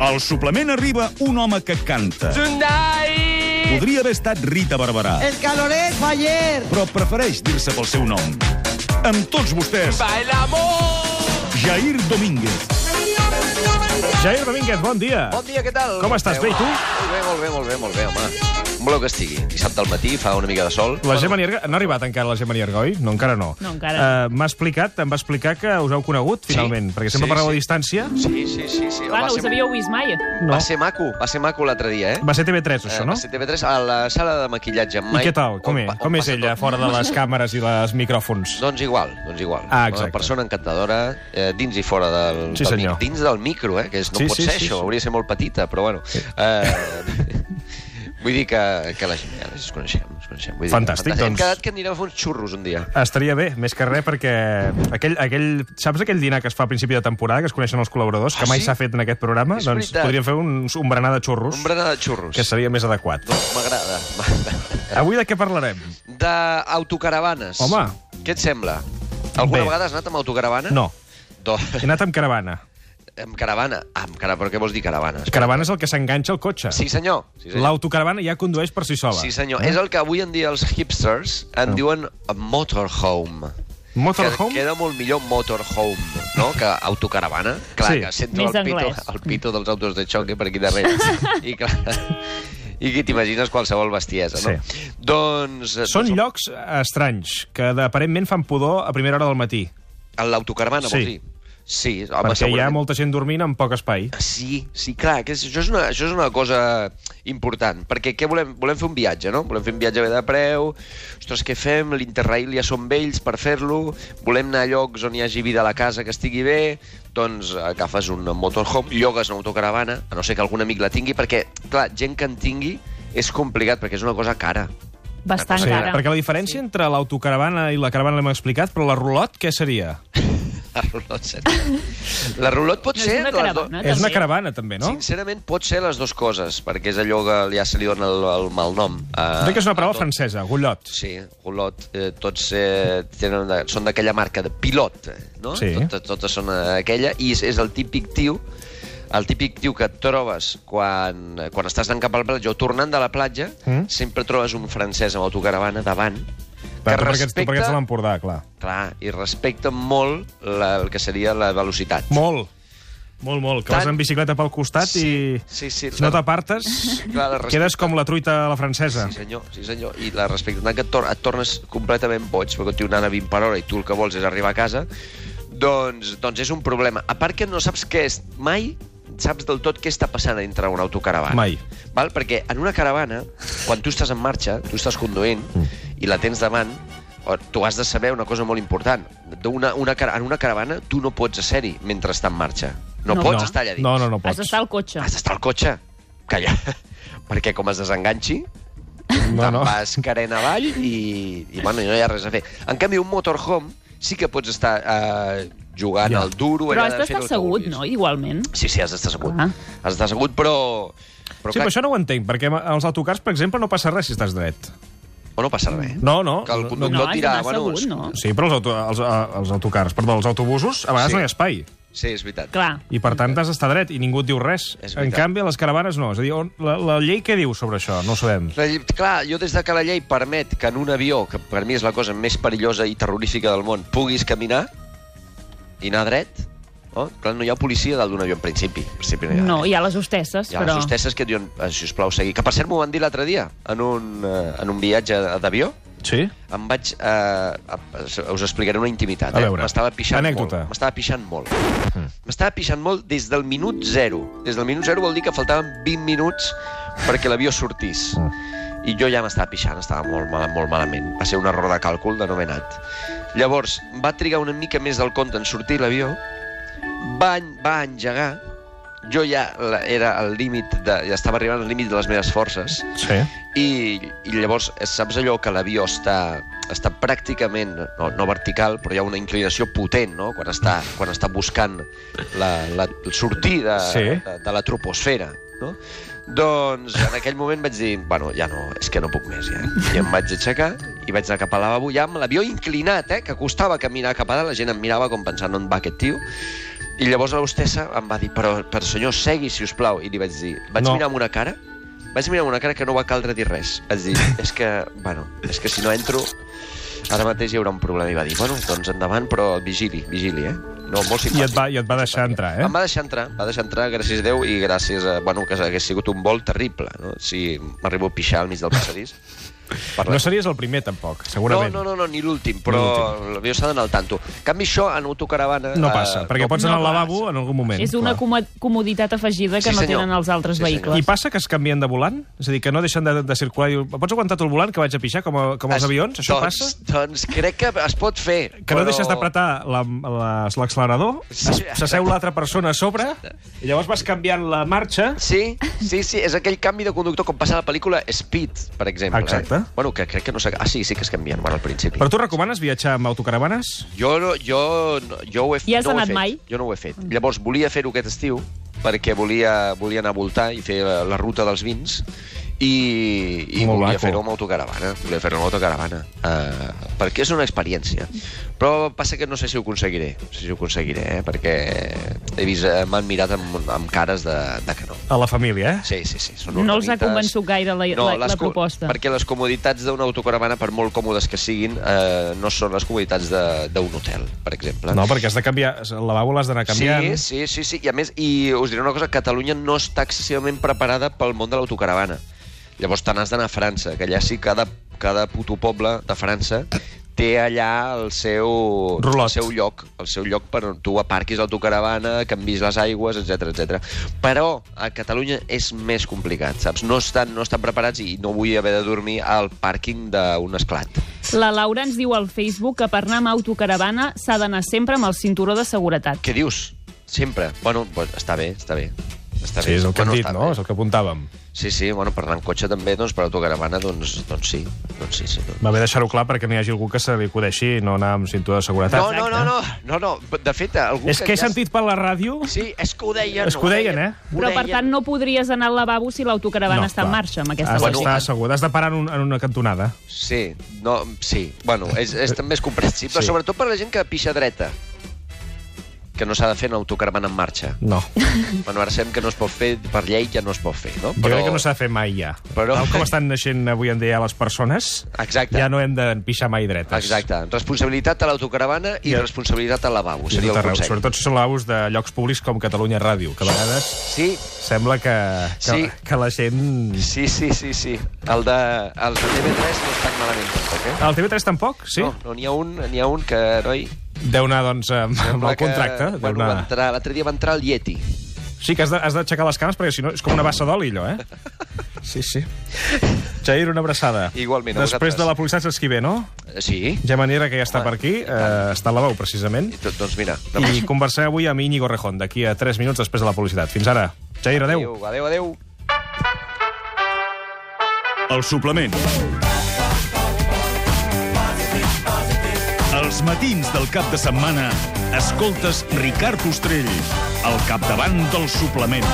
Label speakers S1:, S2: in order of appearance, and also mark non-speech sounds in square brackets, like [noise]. S1: Al suplement arriba un home que canta. Podria haver estat Rita Barberà,
S2: El caloret fue ayer.
S1: però prefereix dir-se pel seu nom. Amb tots vostès, Jair Domínguez.
S3: Jair Domínguez, bon dia.
S4: Bon dia, què tal?
S3: Com estàs, bé, i tu?
S4: Molt bé, molt bé, molt bé, molt bé, home. Un bloc que estigui. Dissabte al matí fa una mica de sol.
S3: La Gemma Nierga... No ha arribat encara la Gemma Nierga, oi? No, encara no.
S5: No, encara
S3: Uh, M'ha explicat, em va explicar que us heu conegut,
S4: Sí.
S3: finalment, perquè sempre
S4: Sí,
S3: parleu
S4: sí.
S3: a distància.
S4: Sí, sí, sí. sí.
S5: Clar,
S4: va,
S5: no us
S4: ser,
S5: havíeu vist mai.
S3: No.
S4: va ser maco, va ser maco l'altre dia, eh?
S3: Va ser TV3, això,
S4: Eh,
S3: no?
S4: Va ser TV3 a la sala de maquillatge.
S3: I què tal? Com,
S4: on
S3: és,
S4: pa- on
S3: com és
S4: passa
S3: ella,
S4: tot?
S3: fora de les càmeres i els micròfons?
S4: Doncs igual, doncs igual.
S3: Ah, exacte.
S4: Una persona encantadora, eh, dins i fora del,
S3: Sí,
S4: del
S3: senyor.
S4: micro. Dins del micro, eh, que és, no
S3: Sí,
S4: pot
S3: sí,
S4: ser
S3: sí,
S4: això,
S3: sí.
S4: hauria de ser molt petita, però bueno. Eh, [laughs] vull dir que, que la gent, ja ens coneixem. Ens coneixem. Vull dir, que
S3: Fantàstic,
S4: fantàstic.
S3: doncs. Ah,
S4: Hem quedat que anirem a fer uns xurros un dia.
S3: Estaria bé, més que res, perquè aquell, aquell, saps aquell dinar que es fa a principi de temporada, que es coneixen els col·laboradors,
S4: Ah,
S3: que mai
S4: sí?
S3: s'ha fet en aquest programa?
S4: És
S3: doncs
S4: veritat.
S3: podríem fer un, un berenar de xurros,
S4: Un berenar de xurros.
S3: que seria més adequat.
S4: Doncs m'agrada, m'agrada.
S3: Avui de què parlarem?
S4: d'autocaravanes.
S3: Home.
S4: Què et sembla? Alguna
S3: Bé.
S4: vegada has anat amb autocaravana?
S3: No,
S4: Doncs,
S3: he anat amb caravana.
S4: amb caravana. Ah, amb cara... Però què vols dir caravana?
S3: Caravana és el que s'enganxa al cotxe.
S4: Sí, senyor. Sí, senyor.
S3: L'autocaravana ja condueix per si sola.
S4: Sí, senyor. És el que avui en dia els hipsters en diuen motorhome.
S3: Motorhome?
S4: Que queda molt millor motorhome, no?, que autocaravana. Clar,
S3: Sí.
S4: que sento
S5: Més
S4: el pito,
S5: anglès.
S4: el pito dels autos de xoc eh, per aquí
S5: [laughs]
S4: darrere. I clar... I que t'imagines qualsevol bestiesa, no? Sí. Doncs... eh,
S3: Són
S4: doncs,
S3: llocs estranys, que aparentment fan pudor a primera hora del matí,
S4: En l'autocaravana,
S3: Sí.
S4: vols dir? Sí, home,
S3: perquè hi ha
S4: segurament.
S3: molta gent dormint en poc espai.
S4: Sí, sí, clar, que és- això, és una, això és una cosa important, perquè què volem? Volem fer un viatge, no? Volem fer un viatge bé de preu, ostres, què fem? L'Interrail ja som vells per fer-lo, volem anar a llocs on hi hagi vida a la casa que estigui bé, doncs agafes un motorhome, llogues una autocaravana, a no ser que algun amic la tingui, perquè, clar, gent que en tingui és complicat, perquè és una cosa cara. [laughs]
S5: Bastant
S3: Sí,
S5: cara.
S3: perquè la diferència entre l'autocaravana i la caravana l'hem explicat, però la rulot, què seria?
S5: Ah,
S4: La rulot, seria. La rulot pot
S5: No, és
S4: ser...
S5: una
S4: les do-
S5: caravana,
S3: És una
S5: també.
S3: caravana, també, Eh, no?
S4: Sincerament, pot ser les dues coses, perquè és allò que ja se li dona el, el mal nom. Uh,
S3: Crec que és una paraula francesa, gullot.
S4: Sí, Olot, eh, tots eh, tenen, de- són d'aquella marca de pilot, eh, no?
S3: Sí.
S4: Totes, totes són eh, aquella, i és, és el típic tio el típic tio que et trobes quan, quan estàs anant cap a la platja o tornant de la platja,
S3: Mm.
S4: mm? sempre trobes un francès amb autocaravana davant
S3: Clar, tu perquè ets- tu perquè ets de l'Empordà, clar.
S4: clar, i respecta molt la, el que seria la velocitat.
S3: Molt. Molt, molt. Que
S4: Tant.
S3: vas en bicicleta pel costat
S4: Sí,
S3: i...
S4: sí, sí.
S3: si no t'apartes,
S4: Clar, la
S3: quedes
S4: respecte.
S3: com la truita a la francesa.
S4: Sí, senyor, sí, senyor. I la respecte, tant que et, tor et tornes completament boig, perquè tu anant a 20 per hora i tu el que vols és arribar a casa, doncs, doncs és un problema. A part que no saps què és mai saps del tot què està passant a dintre una autocaravana.
S3: Mai.
S4: Val? Perquè en una caravana, quan tu estàs en marxa, tu estàs conduint mm. i la tens davant, o- tu has de saber una cosa molt important. Una, una, cara- en una caravana tu no pots ser-hi mentre està en marxa. No,
S5: No.
S4: pots estar allà dins.
S3: No, no, no
S5: Has
S3: pots.
S5: d'estar al cotxe.
S4: Has d'estar al cotxe. Calla. [laughs] Perquè com es desenganxi,
S3: No, no.
S4: vas carent avall i, i bueno, no hi ha res a fer. En canvi, un motorhome sí que pots estar eh, jugant
S3: Ja.
S4: al duro...
S5: Però
S4: allà
S5: has
S4: de fer
S5: d'estar
S4: el que
S5: assegut,
S4: vulguis.
S5: no? Igualment.
S4: Sí, sí, has d'estar assegut.
S5: Ah.
S4: Has d'estar assegut, però... però
S3: Sí, però això no ho entenc, perquè als autocars, per exemple, no passa res si estàs dret.
S4: O no passa res.
S3: No, no.
S4: Que el
S3: no,
S4: conductor
S5: No, has
S4: dirà...
S5: d'anar assegut, no?
S3: Sí, però els, auto, els, eh, els autocars, perdó, els autobusos, a vegades
S4: Sí.
S3: sí. no hi ha espai.
S4: Sí, és veritat.
S5: Clar.
S3: I, per tant, has d'estar dret i ningú et diu res.
S4: És veritat.
S3: En canvi, a les caravanes no. És a dir, on, la, la llei què diu sobre això? No ho sabem.
S4: La llei- Clar, jo des de que la llei permet que en un avió, que per mi és la cosa més perillosa i terrorífica del món, puguis caminar i anar dret, no? clar, no hi ha policia dalt d'un avió en principi. En principi no hi ha,
S5: No, hi ha les hostesses,
S4: hi ha però...
S5: però...
S4: les hostesses que et diuen, eh, sisplau, segui. Que per cert m'ho van dir l'altre dia, en un, eh, en un viatge d'avió,
S3: Sí?
S4: em vaig... Eh, a- us explicaré una intimitat.
S3: A
S4: eh?
S3: veure.
S4: M'estava pixant
S3: Anècdota. Hm.
S4: molt. M'estava pixant molt. M'estava pixant molt des del minut zero. Des del minut zero vol dir que faltaven 20 minuts perquè l'avió sortís.
S3: Hm.
S4: I jo ja m'estava pixant, estava molt, mal, molt malament. Va ser un error de càlcul denomenat. Llavors, va trigar una mica més del compte en sortir l'avió, va, en- va engegar, jo ja la- era al límit, de, ja estava arribant al límit de les meves forces,
S3: Sí.
S4: i, i llavors, eh, saps allò que l'avió està, està pràcticament, no, no vertical, però hi ha una inclinació potent, no?, quan està, quan està buscant la, la, el sortir de,
S3: Sí.
S4: sí. de, de la troposfera, no? Doncs en aquell moment vaig dir, bueno, ja no, és que no puc més, ja. I em vaig aixecar i vaig anar cap al lavabo ja amb l'avió inclinat, eh, que costava caminar cap a dalt, la gent em mirava com pensant on va aquest tio, I llavors l'hostessa em va dir, però, però senyor, segui, si us plau. I li vaig dir, vaig
S3: No.
S4: no. mirar amb una cara vaig mirar amb una cara que no va caldre dir res. Vaig dir, és que, bueno, és que si no entro, ara mateix hi haurà un problema. I va dir, bueno, doncs endavant, però vigili, vigili, eh? No, molt simpàtic.
S3: I et va, i et va deixar entrar, eh?
S4: Em va deixar entrar, va deixar entrar, gràcies a Déu, i gràcies a... Bueno, que hagués sigut un vol terrible, no? Si m'arribo a pixar al mig del passadís... Parlem.
S3: No series el primer, tampoc, segurament.
S4: No, no, no, no ni l'últim, però l'avió s'ha d'anar al tanto. En canvi, això en autocaravana...
S3: No
S4: eh,
S3: passa, perquè pots anar al
S5: no
S3: lavabo en algun moment.
S5: És
S3: clar.
S5: una como- comoditat afegida que
S4: Sí,
S5: no
S4: senyor.
S5: tenen els altres
S4: Sí, senyor.
S5: vehicles.
S3: I passa que es canvien de volant? És a dir, que no deixen de, de circular? I... Pots aguantar tot el volant que vaig a pixar, com, a, com els
S4: Es-
S3: avions? Això
S4: doncs,
S3: passa?
S4: Doncs crec que es pot fer.
S3: Que no deixes d'apretar la- la- l'accelerador,
S4: Sí.
S3: es- s'asseu l'altra persona a sobre, i llavors vas canviant la marxa...
S4: Sí, sí, sí, és aquell canvi de conductor com passa a la pel·lícula Speed, per exemple.
S3: Ah, Exacte.
S4: Eh? Bueno, que crec que no s'ha... Ah, sí, sí que es canvien, bueno, al principi.
S3: Però tu recomanes viatjar amb autocaravanes?
S4: Jo, no, jo, no- jo ho he,
S5: Hi has
S4: no ho he
S5: anat
S4: fet.
S5: mai? Mm.
S4: Jo no ho he fet. Llavors, volia fer-ho aquest estiu, perquè volia, volia anar a voltar i fer la, la ruta dels vins, i, i
S3: Molt
S4: volia
S3: maco.
S4: fer-ho amb autocaravana. Volia fer-ho amb autocaravana. Uh, perquè és una experiència.
S5: Mm.
S4: Però passa que no sé si ho aconseguiré. No sé si ho aconseguiré, eh? perquè he vist, eh, m'han mirat amb, amb cares de, de que no.
S3: A la família, eh?
S4: Sí, sí, sí. Són
S5: No els ha
S4: organites.
S5: convençut gaire la- la- la
S4: les co-
S5: proposta.
S4: Perquè les comoditats d'una autocaravana, per molt còmodes que siguin, eh, no són les comoditats de- d'un hotel, per exemple.
S3: No, perquè has de canviar... El lavabo l'has d'anar canviant.
S4: Sí, sí, sí, sí. I a més, i us diré una cosa, Catalunya no està excessivament preparada pel món de l'autocaravana. Llavors te n'has d'anar a França, que allà sí cada, cada puto poble de França té allà el seu,
S3: Rulot.
S4: el seu lloc, el seu lloc per on tu aparquis l'autocaravana, canvis les aigües, etc etc. Però a Catalunya és més complicat, saps? No estan, no estan preparats i no vull haver de dormir al pàrquing d'un esclat.
S5: La Laura ens diu al Facebook que per anar amb autocaravana s'ha d'anar sempre amb el cinturó de seguretat.
S4: Què dius? Sempre. Bueno, pues, està bé, està bé. Està
S3: Sí,
S4: bé.
S3: és el que hem
S4: Bueno,
S3: dit,
S4: està
S3: no?
S4: bé.
S3: És el que apuntàvem.
S4: Sí, sí, bueno, per anar en cotxe també, doncs per autocaravana, doncs, doncs sí, doncs sí, sí. Doncs.
S3: Va bé deixar-ho clar perquè no hi hagi algú que se li acudeixi i no anar amb cinturó de seguretat.
S4: No, no, no, no, no, no, de fet, algú
S3: eh? És que he
S4: ja-
S3: sentit per la ràdio...
S4: Sí, és que ho deien.
S3: És que ho deien, eh?
S4: Ho
S5: Però, per
S4: deien.
S5: tant, no podries anar al lavabo si l'autocaravana està
S3: clar.
S5: en
S3: Ah,
S5: marxa amb aquesta
S3: Has
S4: Bueno,
S5: lògica.
S3: d'estar assegut, has de parar en, un, en una cantonada.
S4: Sí, no, sí, bueno, és, és també és comprensible,
S3: Sí.
S4: sí. sobretot per la gent que pixa dreta, que no s'ha de fer en autocaravana en marxa.
S3: No,
S4: Bueno, ara sabem que no es pot fer, per llei ja no es pot fer, no?
S3: jo crec que no s'ha de fer mai ja.
S4: Però-
S3: Tal com estan naixent avui en dia les persones,
S4: Exacte.
S3: ja no hem de pixar mai dretes.
S4: Exacte, responsabilitat a l'autocaravana i
S3: Ja.
S4: responsabilitat al lavabo,
S3: I
S4: seria
S3: tot
S4: el
S3: arreu,
S4: consell.
S3: sobretot si són lavabos de llocs públics com Catalunya Ràdio, que a vegades
S4: Sí,
S3: sembla que, que,
S4: Sí.
S3: que la gent...
S4: Sí, sí, sí, sí. El de, el de TV3 no és tan malament, tampoc, eh?
S3: El TV3 tampoc, sí?
S4: No, no, n'hi ha un, n'hi ha un que, noi...
S3: Deu anar, doncs, amb, amb
S4: sembla
S3: el contracte.
S4: Que,
S3: Deu
S4: bueno, va
S3: anar...
S4: entrar, l'altre dia va entrar el Yeti. Eh,
S3: Sí, que has de- has d'aixecar les cames, perquè si no és com una bassa d'oli, allò,
S4: [laughs]
S3: eh? Sí, sí. Jair, una abraçada.
S4: Igualment, a
S3: Després
S4: vosaltres.
S3: de la publicitat saps qui ve, no?
S4: Eh, Sí?
S3: Ja manera que ja està per aquí, eh, està al lavau, precisament.
S4: I tot, doncs mira...
S3: I conversem avui amb Íñigo Rejón, d'aquí a 3 minuts després de la publicitat. Fins ara. Jair, adeu.
S4: Adéu, adéu, adéu.
S1: El suplement. Els matins del cap de setmana escoltes Ricard Ostrell al capdavant del suplement.